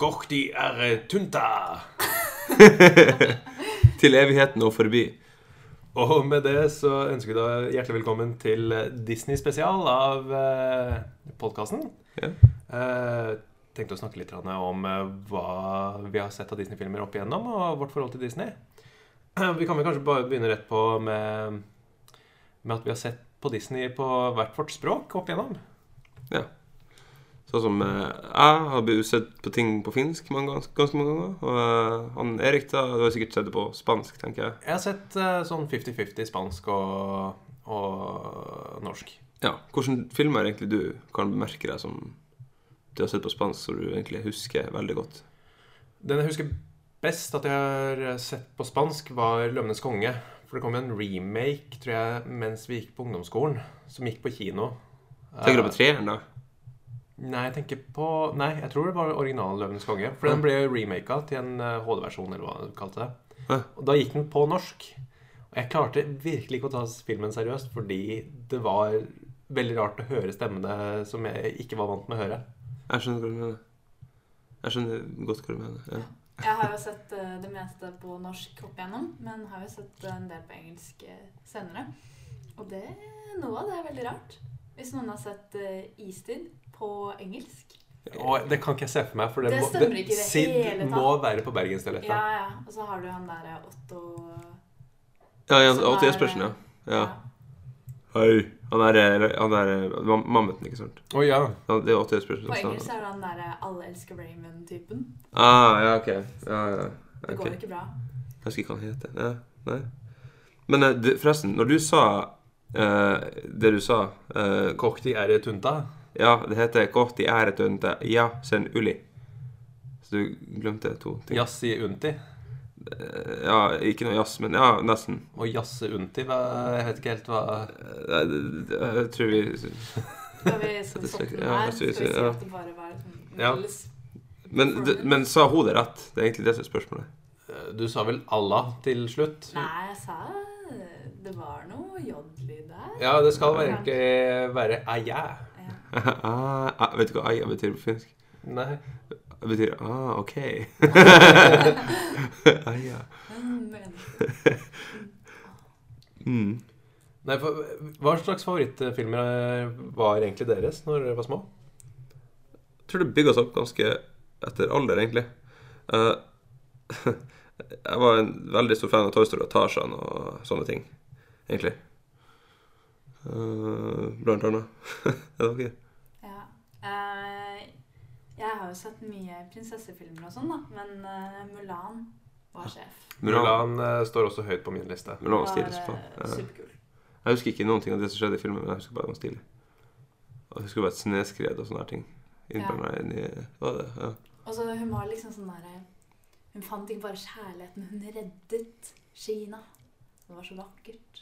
Gordi er eh, tunta. Til evigheten og forbi. Og med det så ønsker vi da hjertelig velkommen til eh, Disney-spesial av eh, podkasten. Ja. Eh, tenkte å snakke litt grann om eh, hva vi har sett av Disney-filmer opp igjennom, og vårt forhold til Disney. Vi kan vel kanskje bare begynne rett på med, med at vi har sett på Disney på hvert vårt språk opp igjennom. Ja. Sånn som eh, jeg har blitt sett på ting på finsk mange, gans- ganske mange ganger. Og eh, han Erik da, du har sikkert sett det på spansk, tenker jeg. Jeg har sett eh, sånn 50-50 spansk og, og norsk. Ja, Hvilke filmer egentlig du kan bemerke deg som du har sett på spansk, som du egentlig husker veldig godt? Den jeg husker best at jeg har sett på spansk, var 'Løvenes konge'. For det kom jo en remake, tror jeg, mens vi gikk på ungdomsskolen, som gikk på kino. Tenker Eh, du på treeren, da? Nei, jeg tenker på Nei, jeg tror det var originalen 'Løvenes konge'. For den ble remaka til en eh, HD-versjon, eller hva du kalte det. Hæ? Og da gikk den på norsk. Og jeg klarte virkelig ikke å ta filmen seriøst, fordi det var veldig rart å høre stemmene som jeg ikke var vant med å høre. Jeg skjønner hva du mener. Jeg skjønner godt hva du mener. Ja. Jeg har jo sett eh, det meste på norsk opp igjennom, men har jo sett en del på engelsk eh, senere. Og det, noe av det er veldig rart. Hvis noen har sett eh, Istid på engelsk. Og det kan ikke jeg se for meg, for det, Det må, stemmer ikke i det Sid hele tatt. må være på bergensdialekta. Ja, ja. Og så har du han derre Otto Ja, ja, Som Otto er- Jespersen, ja. ja. Hei. Han er, eh, han er eh, mam- mammuten, ikke sant? Å ja. Ja, Det er Otto Jespersen. På som står engelsk der. er det han derre alle elsker Raymond-typen. Ah, ja, ok. Ja, ja. Det ok. går ikke bra. Jeg husker ikke hva han heter. Ja, nei. Men eh, det- forresten, når du sa eh, det du sa eh, Cockty er i tunta. Ja, det heter 'Korti er et ønte ja, sen uli'. Så du glemte to ting. Jazzi unti. Eh, ja ikke noe jazz, men ja, nesten. Og jazze unti, hva, jeg vet ikke helt hva Eh, det- det- Jeg tror vi Skal vi skal vi Dette skal- stoppe den ja, her? jeg Skal synes- vi si ja. at det bare var sånn Ja. felles- Men, d- men sa hun det rett? Det er egentlig det som er spørsmålet. Du sa vel Allah til slutt? Nei, jeg sa det var noe J-lyd der. Ja, det skal være egentlig være aja. Ja. ah, ah, vet du hva aia betyr på finsk? Nei. Det betyr ah, OK. aia. Mm, men- Mm. Nei, for Hva slags favorittfilmer eh, var egentlig deres når dere var små? Jeg tror det bygger seg opp ganske etter alder, egentlig. Eh, jeg var en veldig stor fan av Toy Story og Tarzan og sånne ting, egentlig. Eh, blant annet. er det dere? ja. Eh, jeg har jo sett mye prinsessefilmer og sånn, da, men eh, Mulan var sjef. Mulan eh, står også høyt på min liste. Mulan var Var, stilig som eh, faen. Eh, Superkul. Jeg husker ikke noen ting av det som skjedde i filmen, men jeg husker bare den var stilig. Og Jeg husker bare et snøskred og sånne her ting. Inn på Ja. meg, inn i, hva var det? Ja. Og så hun var liksom sånn derre Hun fant ikke bare kjærligheten, hun reddet Kina. Det var så vakkert.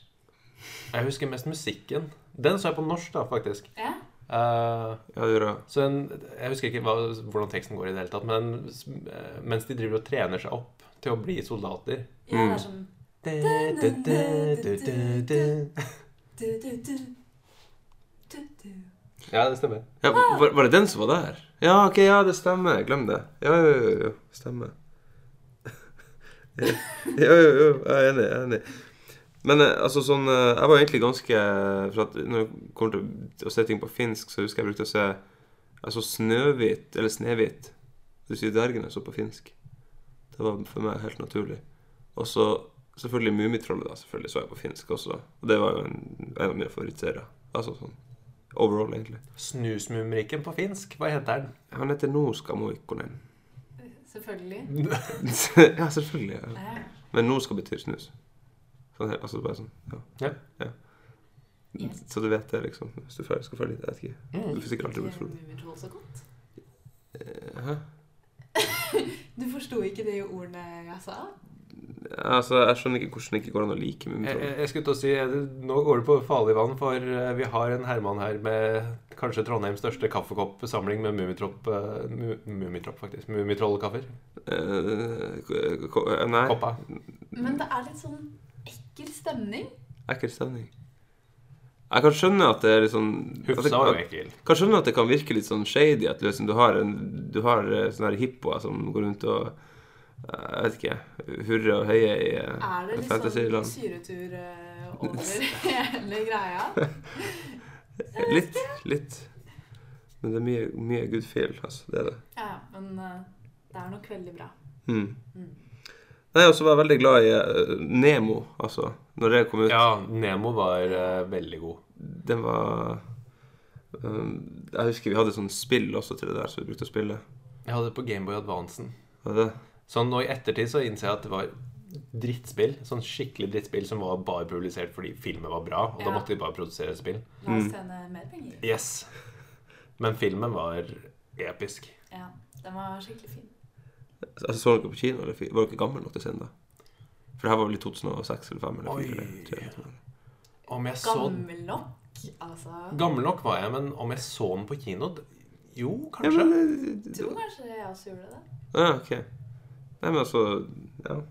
Jeg husker mest musikken. Den så jeg på norsk, da, faktisk. Ja, Eh, ja, det gjorde jeg. Så en, jeg husker ikke hva, hvordan teksten går i det hele tatt, men s- eh, mens de driver og trener seg opp til å bli soldater ja det er sånn Ja, du, du, du. Du, du. det stemmer. Ja, var, var det den som var der? Ja, ok, ja, det stemmer. Glem det. Ja, jo, jo, jo. Stemmer. jo, jo, jo. Jeg er enig. Jeg er enig. Men eh, altså sånn eh, Jeg var egentlig ganske eh, For at når det kommer til å se ting på finsk, så husker jeg jeg brukte å se Altså Snøhvit, eller Snehvit Du sier dvergene så på finsk. Det var for meg helt naturlig. Og så selvfølgelig Mummitrollet, da. Selvfølgelig så jeg på finsk også. Og det var jo en, en av mine favorittserier. Altså sånn overall, egentlig. Snusmumrikken på finsk, hva heter den? Han heter Norska Moikkonen. Selvfølgelig. Mm. ja, selvfølgelig. Ja. Ja. Men Norska betyr snus. Sånn, her, altså bare sånn. Ja. Ja. Yes. Så du vet det, liksom. Hvis du føler- skal følge litt, jeg vet ikke. Du Mm. får sikkert alltid blitt full. Mummitroll så godt. Eh, Hæ? Du forsto ikke de ordene jeg sa? Altså, jeg skjønner ikke hvordan det ikke går an å like Jeg, Mummitrollet. jeg jeg skulle til å si eh, nå går du på farlig vann, for eh, vi har en Herman her med kanskje Trondheims største kaffekoppsamling med Mummitropp eh, mu- Mummitropp, faktisk. Mummitrollkaffer. Eh, ko- ko- eh, Nei. Koppa. Men det er litt sånn ekkel stemning. Ekkel stemning. Jeg kan skjønne at det er litt sånn at Hufsa det, var jo jeg ekkel. kan skjønne at det kan virke litt sånn shady at liksom, du har, en, du har eh, sånne her hippoer som går rundt og eh, Jeg vet ikke Hurrer og heier i eh, Er det litt Fantasyland. sånn syretur eh, over hele greia? Litt. Litt. Men det er mye, mye good feel, altså. Det er det. Ja, ja, men eh, det er nok veldig bra. Hmm. Mm. Nei, og så var jeg veldig glad i eh, Nemo, altså. Når det kom ut. Ja, Nemo var eh, veldig god. Den var um, Jeg husker vi hadde sånn spill også til det der, som vi brukte å spille. Jeg hadde det på Gameboy Advancen. Var det det? Så nå Sånn, i ettertid så innser jeg at det var drittspill. Sånn skikkelig drittspill som var bare publisert fordi filmen var bra. Og da Ja. måtte de bare produsere spill. La oss Mm. tjene mer penger. Yes. Men filmen var episk. Ja, den var skikkelig fin. Altså, så dere på kino? Eller fi- var dere gammel nok til å se den da? For det her var vel i 2006 eller 2005 eller Oi. 2004? Eller, tre, jeg tror. Om jeg så Gammel nok, altså. Gammel nok var jeg, men om jeg så den på kino d- Jo, ja, kanskje. men Jeg eh, tror kanskje jeg også gjorde det. Ja, OK. Nei, men altså Ja.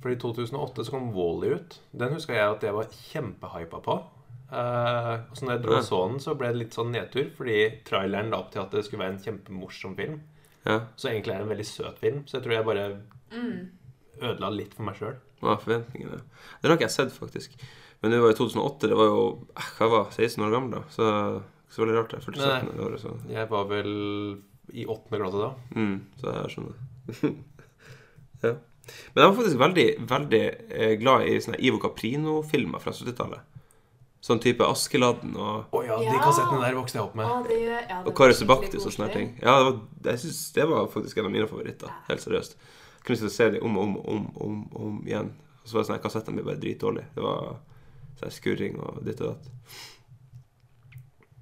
For i 2008 så kom Wall-E ut. Den huska jeg at jeg var kjempehypa på. Eh, så når jeg dro og så den, så ble det litt sånn nedtur, fordi traileren la opp til at det skulle være en kjempemorsom film. ja. Så egentlig er det en veldig søt film, så jeg tror jeg bare Mm. ødela litt for meg sjøl. Hva er forventningene? Det har ikke jeg sett, faktisk. Men det var i 2008. Det var jo eh, Jeg var 16 år gammel da, så ikke så veldig rart. Jeg fylte Nei. 17 år i året, så Jeg var vel i åttende klasse da. Mm, så jeg skjønner. ja. Men jeg var faktisk veldig, veldig eh, glad i sånne Ivo Caprino-filmer fra 70-tallet. Sånn type Askeladden og, Å ja, de Ja. Ah. kassettene der vokste jeg opp med. Og det, ja, det og var Karius skikkelig og Baktus og sånne koselig. ting. Ja, det var, jeg synes det var faktisk en av mine favoritter. Helt seriøst. Jeg kunne sitte og se dem om og om og om, og om, og om igjen. Og så var sånne kassettene mine bare dritdårlige. Det var sånn skurring og ditt og datt.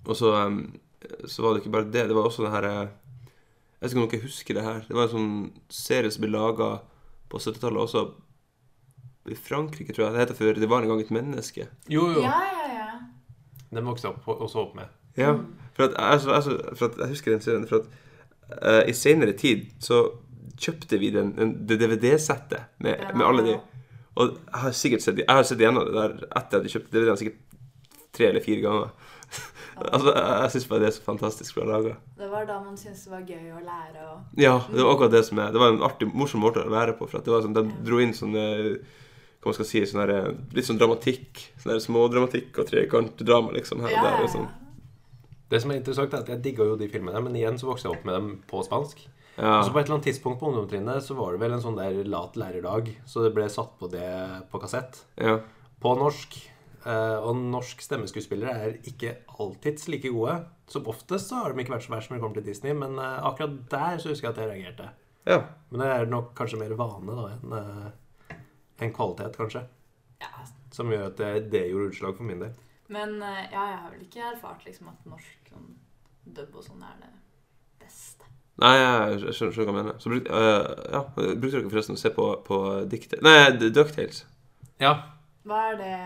Og så, eh, så var det ikke bare det. Det var også det her eh, Jeg vet ikke om dere husker det her. Det var en sånn serie som ble laga på 70-tallet også. I Frankrike, tror jeg. Det heter for 'Det var en gang et menneske'. Jo, jo. Ja, ja, ja. Den vokste jeg opp på- også opp med. Ja. Mm. For at, altså, altså, for at jeg husker den serien For at eh, i senere tid så kjøpte vi den, den, det DVD-settet med, Den med alle de var- Og jeg har sikkert sett, jeg har sett igjennom det der etter at vi kjøpte DVD-en sikkert tre eller fire ganger. altså, jeg, jeg syns bare det er så fantastisk bra laga. Det var da man syntes det var gøy å lære å Ja, det var akkurat det som er Det var en artig, morsom måte å være på. For at det var sånn, De dro inn sånn eh, hva man skal si, sånn der, eh, litt sånn dramatikk. Sånn der smådramatikk og trekantdrama liksom her og der. Og sånn. Det som er interessant, er at jeg digga jo de filmene, men igjen så vokste jeg opp med dem på spansk. ja. Og så på et eller annet tidspunkt på ungdomstrinnet så var det vel en sånn der lat lærerdag, så det ble satt på det på kassett. ja. På norsk. eh, Og norsk stemmeskuespillere er ikke alltids like gode. Som oftest så har de ikke vært så verst når det kommer til Disney, men eh, akkurat der så husker jeg at jeg reagerte. ja. Men det er nok kanskje mer vane da enn eh, enn kvalitet, kanskje. Ja, Som gjør at det, det gjorde utslag for min del. Men eh, ja, jeg har vel ikke erfart liksom, at norsk sånn, dub og sånn er det beste. Nei, jeg skjønner, skjønner hva jeg mener. Så bruk, øh, ja, brukte dere forresten å se på, på diktet Nei, D- Ducktales. Ja. Hva er det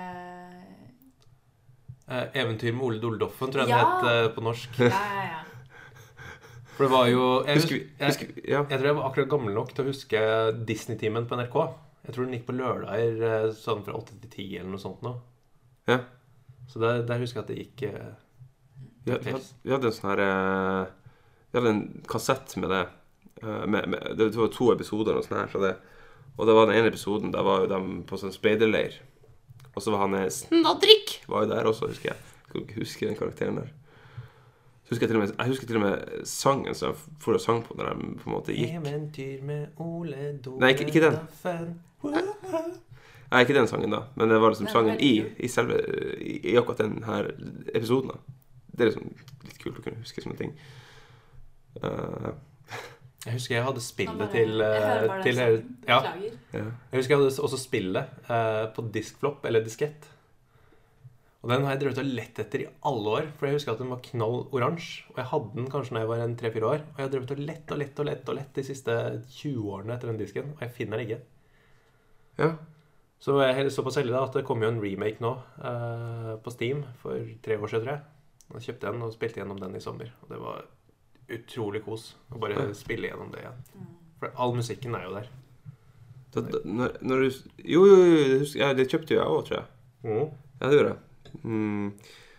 eh, 'Eventyr med Ole Doldoffen', tror jeg Ja. det het eh, på norsk. Ja, ja, ja. For det var jo jeg, Husker vi, hus- jeg, husker vi, ja. jeg tror jeg var akkurat gammel nok til å huske Disney-timen på NRK. Jeg tror den gikk på lørdager eh, sånn fra 8 til 10 eller noe sånt nå. Ja. Så der, der husker jeg at det gikk eh, Vi hadde, vi hadde- vi hadde en sånn her øh, Vi hadde en kassett med det. øh, med, med, det var to episoder og sånn her fra det. Og det var den ene episoden, der var jo de på sånn speiderleir. Og så var han eh, Snadrik var jo der også, husker jeg. Jeg kan ikke huske den karakteren der. Så husker jeg, til og med, jeg husker til og med sangen som jeg for og sang på når de på en måte gikk. Eventyr med Ole Doldoffen. Nei, ikke- ikke den. Nei, ikke den sangen, da, men det var liksom Den er sangen veldig i, i selve i, i akkurat den her episoden. da. Det er liksom litt kult å kunne huske sånne ting. Eh, Jeg husker jeg hadde Nå spillet bare- til, eh, jeg hører bare den til sangen. Ja. Beklager. ja. Jeg husker jeg hadde også spillet eh, på diskflopp, eller diskett. Og den har jeg drevet og lett etter i alle år, for jeg husker at den var knall oransje. Og jeg hadde den kanskje da jeg var en tre-fire år. Og jeg har drevet og lett og lett og lett og lett de siste 20 årene etter den disken, og jeg finner den ikke. ja. Så var jeg heller såpass heldig da at det kom jo en remake nå eh, på Steam for tre år siden, tror jeg. Og Jeg kjøpte den og spilte gjennom den i sommer. Og det var utrolig kos å bare Ja. spille gjennom det igjen. Mm. For all musikken er jo der. Da, da, når, når du Jo, jo, jo, det husker, jeg, det kjøpte jo jeg òg, tror jeg. Mm. Ja, det gjorde jeg. Mm.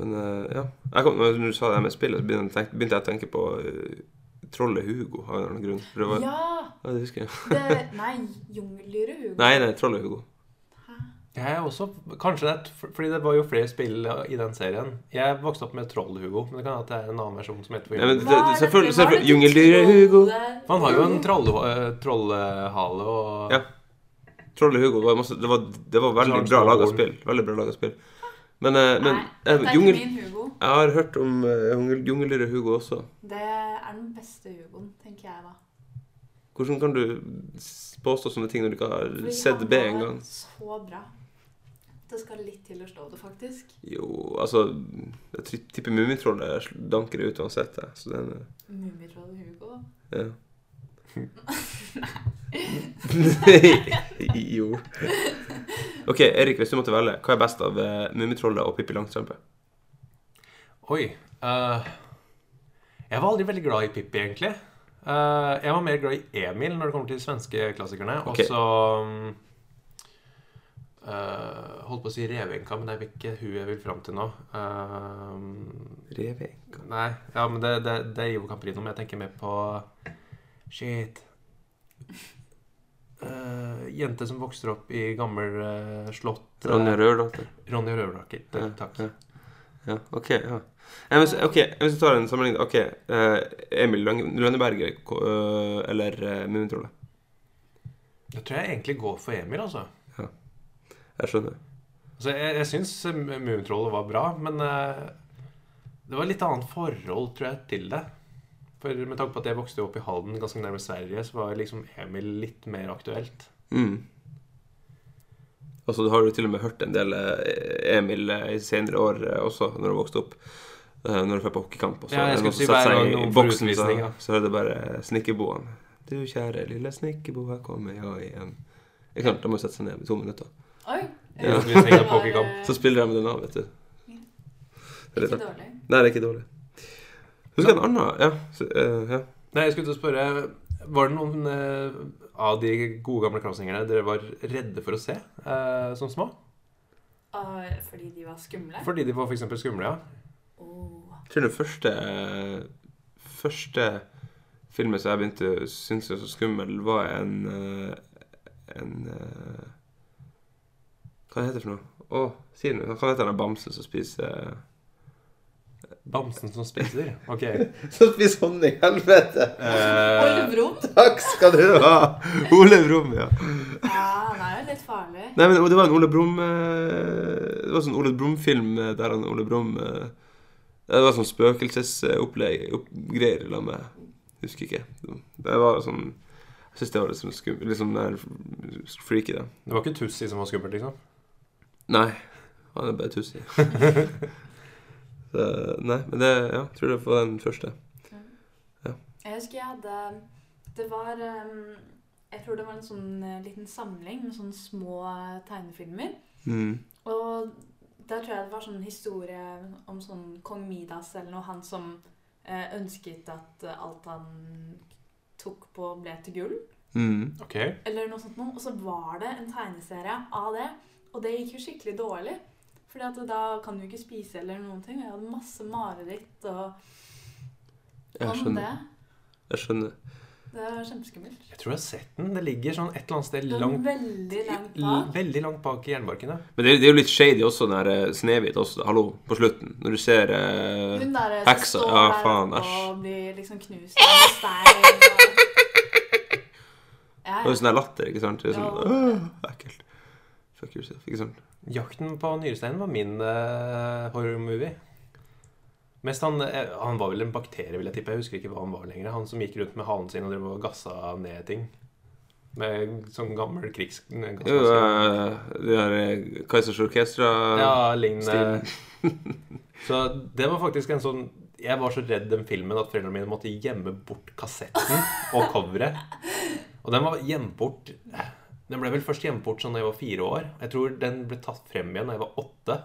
Men eh, ja. Jeg kom, når du sa det her med spillet, så begynte jeg å tenke, begynte jeg å tenke på eh, trollet Hugo av en eller annen grunn. For det var, ja. Ja! det husker jeg. Det, nei, jungeldyret Hugo. Nei, nei, trollet Hugo. Hæ? Jeg er også, kanskje det, er- Fordi det var jo flere spill eh, i den serien. Jeg vokste opp med Troll-Hugo, men det kan hende at det er en annen versjon som heter Ja, men Hugo. det- Hva er selvfølgelig- dette? Hva er selvfølgelig- det jungeldyret Hugo. trollet? For han har jo en troll, eh, trollhale og Ja. Trollet Hugo var masse Det var, det var veldig Lars bra laga Vaughn. spill. Veldig bra laget spill. Men, eh, men Nei, eh, dette er jungel, ikke min Hugo. jeg har hørt om eh, jungel- jungeldyret Hugo også. Det er den beste Hugoen, tenker jeg da. Hvordan kan du s- påstå sånne ting når du ikke har Fordi sett han B var engang? Så bra. Det skal litt til å slå det, faktisk. Jo, altså Jeg tri- tipper Mummitrollet sl- danker det ut uansett. jeg, Så den, eh, Mummitrollet Hugo. ja. jo. OK, Erik, hvis du måtte velge, hva er best av eh, Mummitrollet og Pippi Langstrømpe? Oi. eh, jeg var aldri veldig glad i Pippi, egentlig. Eh, jeg var mer glad i Emil når det kommer til de svenske klassikerne. Ok. Og så mm, eh, Holdt på å si Revenka, men det er ikke hun jeg vil fram til nå. Eh, Reving. nei, ja, men det, det, det er Ivo Caprino, men jeg tenker mer på Shit. Eh, jente som vokser opp i gammel eh, slott. Ronja Røverdatter. Ronja Røverdaker. Ja, Takk. ja. Ja, ok. ja. Jeg vil, ok, Hvis du tar en sammenligning Ok, eh, Emil Lønne- Lønneberger ko- eh, eller uh, Mummitrollet. Jeg tror jeg egentlig går for Emil, altså. Jeg skjønner. Altså, jeg jeg syns eh, Mummitrollet var bra, men eh, det var litt annet forhold, tror jeg, til det. For med tanke på at jeg vokste jo opp i Halden, ganske nærme Sverige, så var liksom Emil litt mer aktuelt. Mm. Og så har du til og med hørt en del eh, Emil eh, i senere år eh, også, når du vokste opp. Eh, når du drar på hockeykamp, og så Ja, jeg er det noen skulle som si setter hver seg gang i noen får boksen, så, utvisning, ja. så er det bare snikkerboene. Du kjære lille snikkerbo, her kommer jeg igjen. Ikke sant, Da må du sette seg ned i to minutter. Oi! Ja. eh, Utvisning det av var, pokerkamp. eh, Så spiller jeg med den av, vet du. Det er litt Ikke artig. dårlig. Nei, det er ikke dårlig. Husker jeg en annen Ja. Så, eh, ja. Nei, jeg skulle til å spørre Var det noen eh, av de gode gamle klassingerne dere var redde for å se eh, som små? Ah, fordi de var skumle? Fordi de var f.eks. skumle, ja. Åh. Jeg tror den første eh, Første filmen som jeg begynte å synes var så skummel, var en eh, En eh, Hva heter det for noe? Å, si det. nå. Hva heter den bamsen som spiser Bamsen som spiser. Ok. Som spiser honning? Helvete! Eh, Olvrom? Takk skal du ha! Ole Brumm, ja. Ja, han er jo litt farlig. Nei, men det var en Ole Brumm eh, Det var en sånn Ole Brumm-film eh, der han Ole Brumm eh, Det var sånn spøkelsesoppgreier sammen med Husker ikke. Det var sånn Jeg syns det var litt sånn skum, litt sånn der freaky, da. det var ikke Tussi som var skummelt, liksom? Nei. Han er bare tussig. Så, nei, men det Ja, tror det var den første. Jeg husker jeg hadde Det var eh, Jeg tror det var en sånn eh, liten samling med sånne små eh, tegnefilmer. Mm. Og der tror jeg det var sånn historie om sånn kong Midas eller noe, han som eh, ønsket at eh, alt han tok på, ble til gull, Mm. Ok. eller noe sånt noe. Og så var det en tegneserie av det, og det gikk jo skikkelig dårlig. Fordi at da kan du ikke spise eller noen ting. og Jeg hadde masse mareritt og Jeg om skjønner. det. Jeg skjønner. Det var kjempeskummelt. Jeg tror jeg har sett den. Det ligger sånn et eller annet sted Det var langt veldig langt L- bak. Veldig langt bak i jernbarken, ja. Men det, er- det er jo litt shady også, den der eh, Snehvit også. Hallo, på slutten. Når du ser eh, Hun der som Heksa, står ja, der faen, oppe æsj. og blir liksom knust av en stein. Og... Ja, Det ja. er jo sånn der latter, ikke sant? Det er sånn, Ja. «Åh, ekkelt. Fuck yourself, ikke sant? Jakten på nyresteinen var min uh, horror-movie. Mest han, eh, han var vel en bakterie, vil jeg tippe. Jeg husker ikke hva han var lenger. Han som gikk rundt med halen sin og drev og gassa ned ting. Med sånn gammel krigs... Jo, sånn eh, det der eh, Kaisers Orkestra ja, lignende. stilen. Så det var faktisk en sånn Jeg var så redd den filmen at foreldrene mine måtte gjemme bort kassetten og coveret. Og den var gjemt bort Den ble vel først gjemt bort sånn da jeg var fire år. Jeg tror den ble tatt frem igjen da jeg var åtte.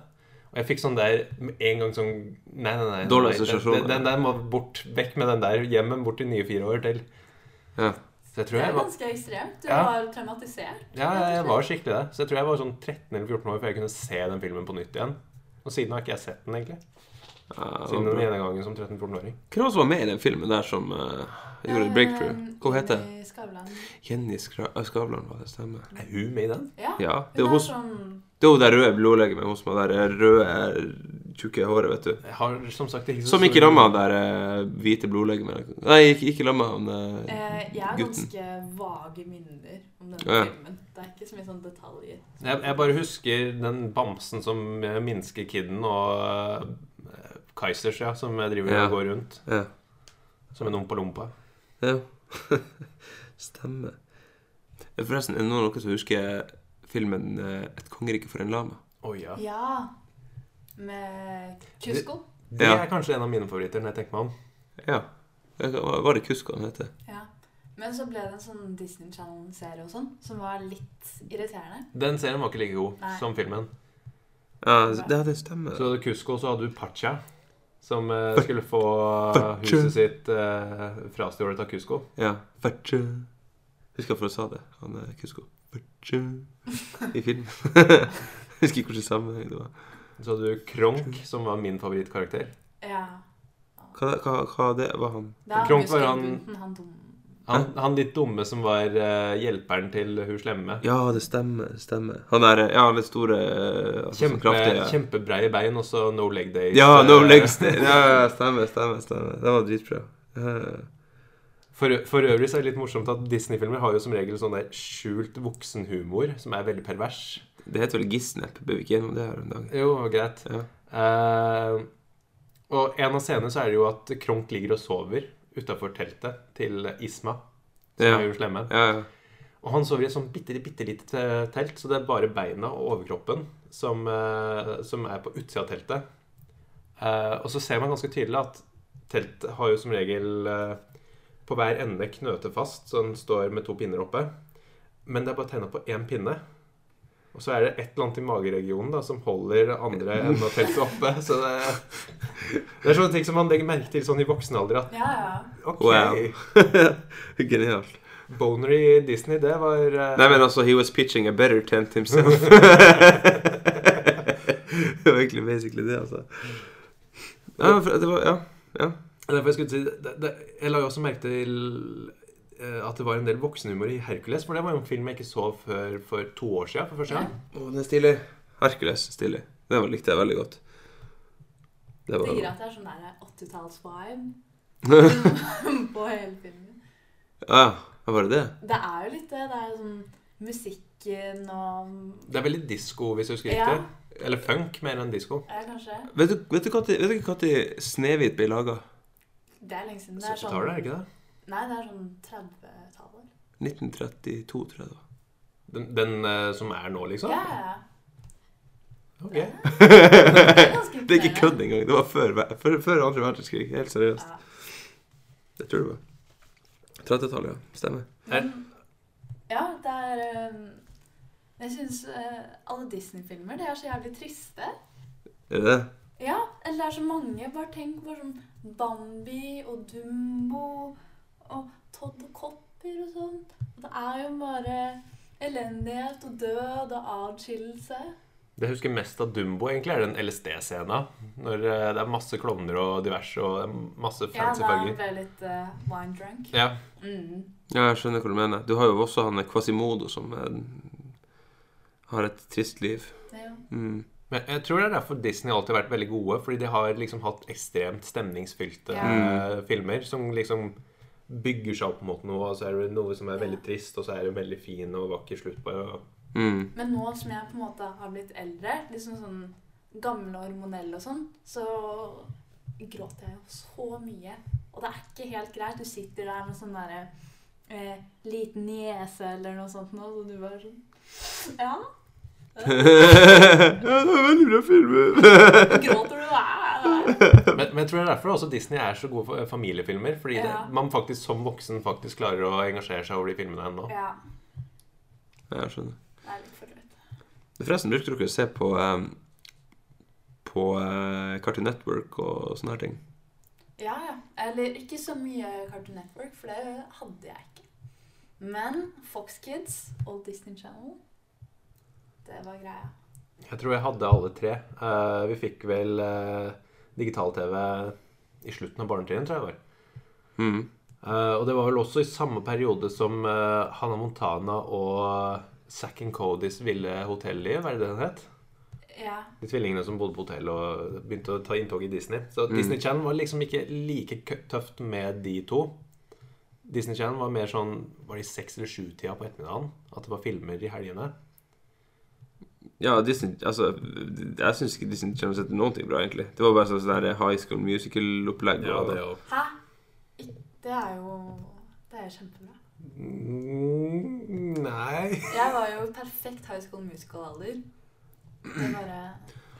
Og jeg fikk sånn der med en gang sånn Nei, nei, nei. Dårlig nei, den, assosiasjon. den, den der må bort. Vekk med den der. Hjem med den bort til nye fire år til. Ja. Så jeg Det tror er jeg var, ganske ekstremt. Du Ja. var traumatisert. ja, jeg var skikkelig det. Så jeg tror jeg var sånn 13 eller 14 år før jeg kunne se den filmen på nytt igjen. Og Og siden har ikke jeg sett den, egentlig. Ja, det var Siden bra. den ene gangen som 13-14-åring. Hvem eh, var det som var med i den filmen der som eh, gjorde et breakthrough? Eh, Hva heter det? Jenny Ehm, Skavlan. Jenny Skra ah, Skavlan, var det stemmer? Er hun med i den? Ja. Ja. Det Hun var er hos- sånn det var hun der røde blodlegget med hun som har det røde, eh, tjukke håret, vet du. Jeg har som sagt ikke så Som ikke stor- ramma han der eh, hvite blodlegget med Nei, ikke, ikke ramma han eh, eh, Jeg har gutten. ganske vage minner om denne Ja. filmen. Det er ikke så mye sånn detaljer. Jeg, jeg bare husker den bamsen som eh, minsker kidden og eh, Kaizers, ja, som driver Ja. og går rundt. Ja. Som en ompa-lompa. Ja. Stemmer. Eh, Forresten, er det noen av dere som husker filmen eh, 'Et kongerike for en lama'? Å ja. Ja. Med Kusko. Det Ja. er kanskje en av mine favoritter når jeg tenker meg om. Ja. Eh, hva- Var det Kusko han heter? Ja. Men så ble det en sånn Disney Channel-serie og sånn, som var litt irriterende. Den serien var ikke like god Nei. som filmen. Ja, det, det stemmer. Så hadde Kusko, så hadde du Pacha, som eh, Pacha. skulle få Pacha. huset sitt eh, frastjålet av Kusko. Ja. Fertje. Husker hvorfor jeg sa det. Han er Kusko. Fertje. I filmen. Husker ikke hvilken sammenheng det var. Så hadde du Kronk, som var min favorittkarakter. Ja. Hva, hva, hva det var han? Det er Kronk Husker var han- Bunten, han dum. Han, han litt dumme som var eh, hjelperen til hun slemme. Ja, det stemmer. det stemmer. Han er eh, Ja, han er store eh, altså, så Kjempe, kraftig, ja. Kjempebreie bein, og så no leg days. Ja, no eh, legs day. Ja, ja, stemmer, stemmer. stemmer. Det var dritbra. Eh, For, for øvrig så er det litt morsomt at Disney-filmer har jo som regel sånn der skjult voksenhumor som er veldig pervers. Det heter vel Gisnep. Bør vi ikke gjennom det her en dag? Jo, greit. Ja. Eh, og en av scenene så er det jo at Kronk ligger og sover utafor teltet til Isma, som Ja. er jo slemme. Ja, ja. Og han sover i et sånn bitte, bitte lite telt, så det er bare beina og overkroppen som, eh, som er på utsida av teltet. Eh, og så ser man ganske tydelig at teltet har jo som regel eh, på hver ende knøtet fast, så den står med to pinner oppe. Men det er bare tegna på én pinne. Og så er det et eller annet i mageregionen da, som holder andre enden av teltet oppe. Så det, det er sånne ting som man legger merke til sånn i voksen alder. At Ja, ja. OK, Wow. Genialt. boner i Disney, det var eh, Nei, men altså, he was pitching a better tent himself. det var egentlig basically det, altså. Ja, men for- det var, ja. Det er Derfor jeg skulle si det, det, Jeg la jo også merke til eh, at det var en del voksenhumor i Hercules. For det var jo en film jeg ikke så før for to år siden. For første gang. Å, den er stilig. Hercules er stilig. Det var, likte jeg veldig godt. Det Digger var at det er sånn der 80-talls-vibe på hele filmen. Ja, ah, var det det? Det er jo litt det. Det er jo sånn musikken og Det er veldig disko, hvis jeg husker Ja. riktig. Eller funk mer enn disko. Ja, kanskje. Vet du, vet du når- vet dere når Snehvit ble laga? Det er lenge siden. Det er sånn 70-tallet, er det ikke det? Nei, det er sånn 30-tallet. 1932, tror jeg det var. Den, den eh, som er nå, liksom? Ja, ja. Ok. ja. ganske Det er ikke imponerende. kødd engang. Det var før, ver- før, før andre verdenskrig. Helt seriøst. Ja. Det tror jeg det var. 30-tallet, ja. Stemmer. Men, ja, det er eh, Jeg syns alle Disney-filmer de er så jævlig triste. Er det det? Ja, eller det er så mange. Bare tenk på sånn Bambi og Dumbo og Todd og Copper og sånt. Og det er jo bare elendighet og død og avskillelse. Det jeg husker mest av Dumbo, egentlig, er den LSD-scena. Når eh, det er masse klovner og diverse, og det er masse Ja, fancy da farger. ble jeg litt eh, wine drunk. Ja. Mm. Ja, jeg skjønner hva du mener. Du har jo også han Quasimodo som eh, har et trist liv. Det er jo Mm. Men jeg tror det er derfor Disney alltid har vært veldig gode, fordi de har liksom hatt ekstremt stemningsfylte Ja. eh, filmer som liksom bygger seg opp mot noe, og så er det noe som er Ja. veldig trist, og så er det en veldig fin og vakker slutt på det. Mm. Men nå som jeg på en måte har blitt eldre, liksom sånn gamle hormonell og sånn, så gråter jeg jo så mye. Og det er ikke helt greit. Du sitter der med sånn derre eh, liten niese eller noe sånt nå, så du bare sånn Ja. ja, det var veldig bra film. Gråter du? Æ, æ, æ. Men, men jeg tror det er derfor også Disney er så gode for eh, familiefilmer, fordi det, Ja. man faktisk som voksen faktisk klarer å engasjere seg over de filmene ennå. Ja. Ja, jeg skjønner. Det er litt for drøyt. Forresten, brukte dere å se på eh, på eh, Cartoon Network og sånne her ting? Ja, ja. Eller ikke så mye Cartoon Network, for det hadde jeg ikke. Men Fox Kids og Disney Channel, det var greia. Jeg tror jeg hadde alle tre. Eh, vi fikk vel eh, digital-TV i slutten av barnetiden, tror jeg det var. Mm. Eh, og det var vel også i samme periode som eh, Hannah Montana og eh, Zack and Codys ville hotell i, hva er det den het? Ja. De tvillingene som bodde på hotell og begynte å ta inntog i Disney. Så Mm. Disney Channel var liksom ikke like kø- tøft med de to. Disney Channel var mer sånn Var det i seks eller sju-tida på ettermiddagen? At det var filmer i helgene? Ja, Disney, altså, jeg syns ikke Disney Channel setter noen ting bra, egentlig. Det var bare sånn sånn der high school musical-opplegg. Ja, og- det òg. Hæ? Ik- Det er jo Det er jo kjempebra. Mm, nei Jeg var jo perfekt High School Musical-alder. Det bare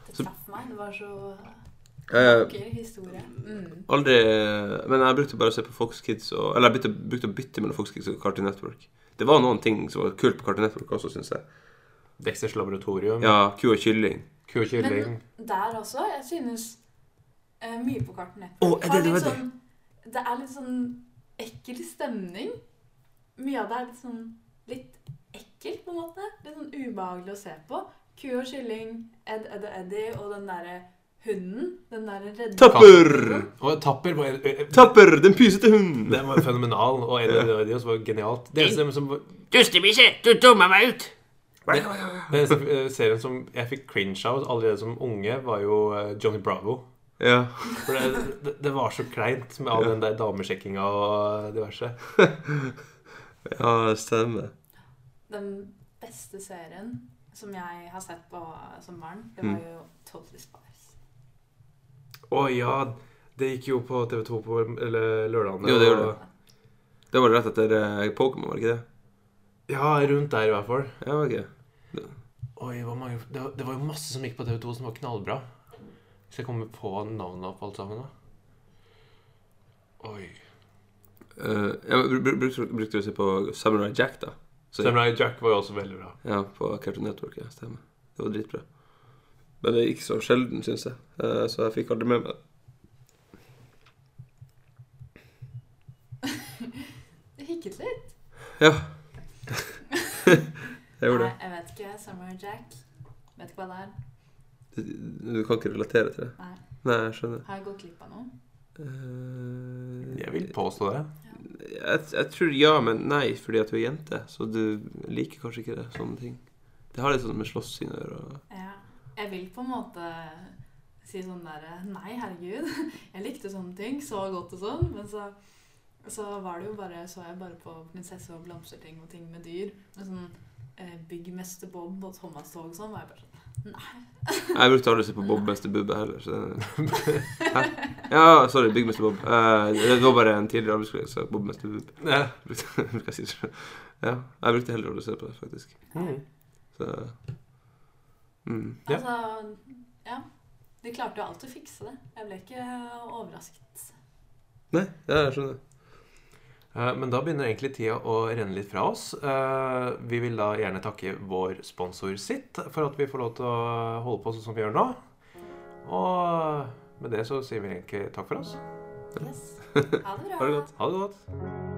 Det Så- traff meg. Det var så Eh, gøy historie. Mm. Aldri Men jeg brukte bare å se på Fox Kids og Eller jeg brukte, brukte å bytte mellom Fox Kids og Cartoon Network. Det var noen ting som var kult på Cartoon Network også, syns jeg. Dexters laboratorium. Ja, Ku og kylling. Ku og kylling. Der også. Jeg synes eh, mye på kartene. Å, er det Har det litt var det? sånn, det er litt sånn ekkel stemning. Mye av det er litt sånn litt ekkelt, på en måte. Litt sånn ubehagelig å se på. Ku og kylling, Ed, Ed og Eddie og den derre hunden. Den derre redde Tapper! Og Tapper var Tapper, den pysete hunden! Den var fenomenal. Og Eddie og Eddie også var genialt. Det eneste som var Dustebikkje, du dummer meg ut! Den eneste eh, serien som jeg fikk cringe av allerede som unge, var jo eh, Johnny Bravo. Ja. For det, det, det var så kleint med all den der damesjekkinga og diverse. ja, stemmer. Den beste serien som jeg har sett på eh, som barn, det var Mm. jo Totally Spies. Å ja, det gikk jo på TV2 på eller, lørdagene. Jo, det gjorde og- Det var rett etter eh, Pokémon, var det ikke det? Ja, rundt der i hvert fall. Ja, var ikke det? Oi, hvor mange, det, var, det var jo masse som gikk på TV2 som var knallbra. Hvis jeg kommer på navnet på alt sammen, da. Oi. Eh, ja, men br- br- brukte, brukte du å se på Samurai Jack, da? Så- Samurai Jack var jo også veldig bra. Ja, på Cartoon Network, ja, stemmer. Det var dritbra. Men det gikk så sjelden, syns jeg. Eh, Så jeg fikk aldri med meg det. Det hikket litt. Ja. jeg gjorde det. Nei, jeg vet ikke. Summer Jack. Vet ikke hva det er. Du, du kan ikke relatere til det? Nei. Nei, jeg skjønner. Har jeg gått glipp av noe? Eh, Jeg vil påstå det. jeg, jeg tror ja, men nei, fordi at du er jente. Så du liker kanskje ikke det, sånne ting. Det har litt sånn med slåssing å gjøre. og- Ja. Jeg vil på en måte si sånn derre Nei, herregud. Jeg likte sånne ting så godt og sånn. Men så, så var det jo bare Så jeg bare på prinsesse og blomsterting og ting med dyr. Med sånn eh, Byggmester Bob og Thomas Tog og sånn. Var jeg bare sånn Nei. Jeg brukte aldri å se på Bob Mester Bubbe heller. Så det... Hæ? Ja, sorry, Byggmester Bob. Eh, det var bare en tidligere arbeidskollega som sa Bob Mester Bubbe. Ja. Brukte- brukte jeg si det. Ja, jeg brukte heller aldri å se på det, faktisk. Mm. Så mm. Ja. Altså, ja. De klarte jo alt å fikse det. Jeg ble ikke overrasket. Nei, ja, jeg skjønner. Eh, Men da begynner egentlig tida å renne litt fra oss. Eh, Vi vil da gjerne takke vår sponsor sitt for at vi får lov til å holde på sånn som vi gjør nå. Og med det så sier vi egentlig takk for oss. Yes. Ha det bra. Ha det godt. Ha det godt.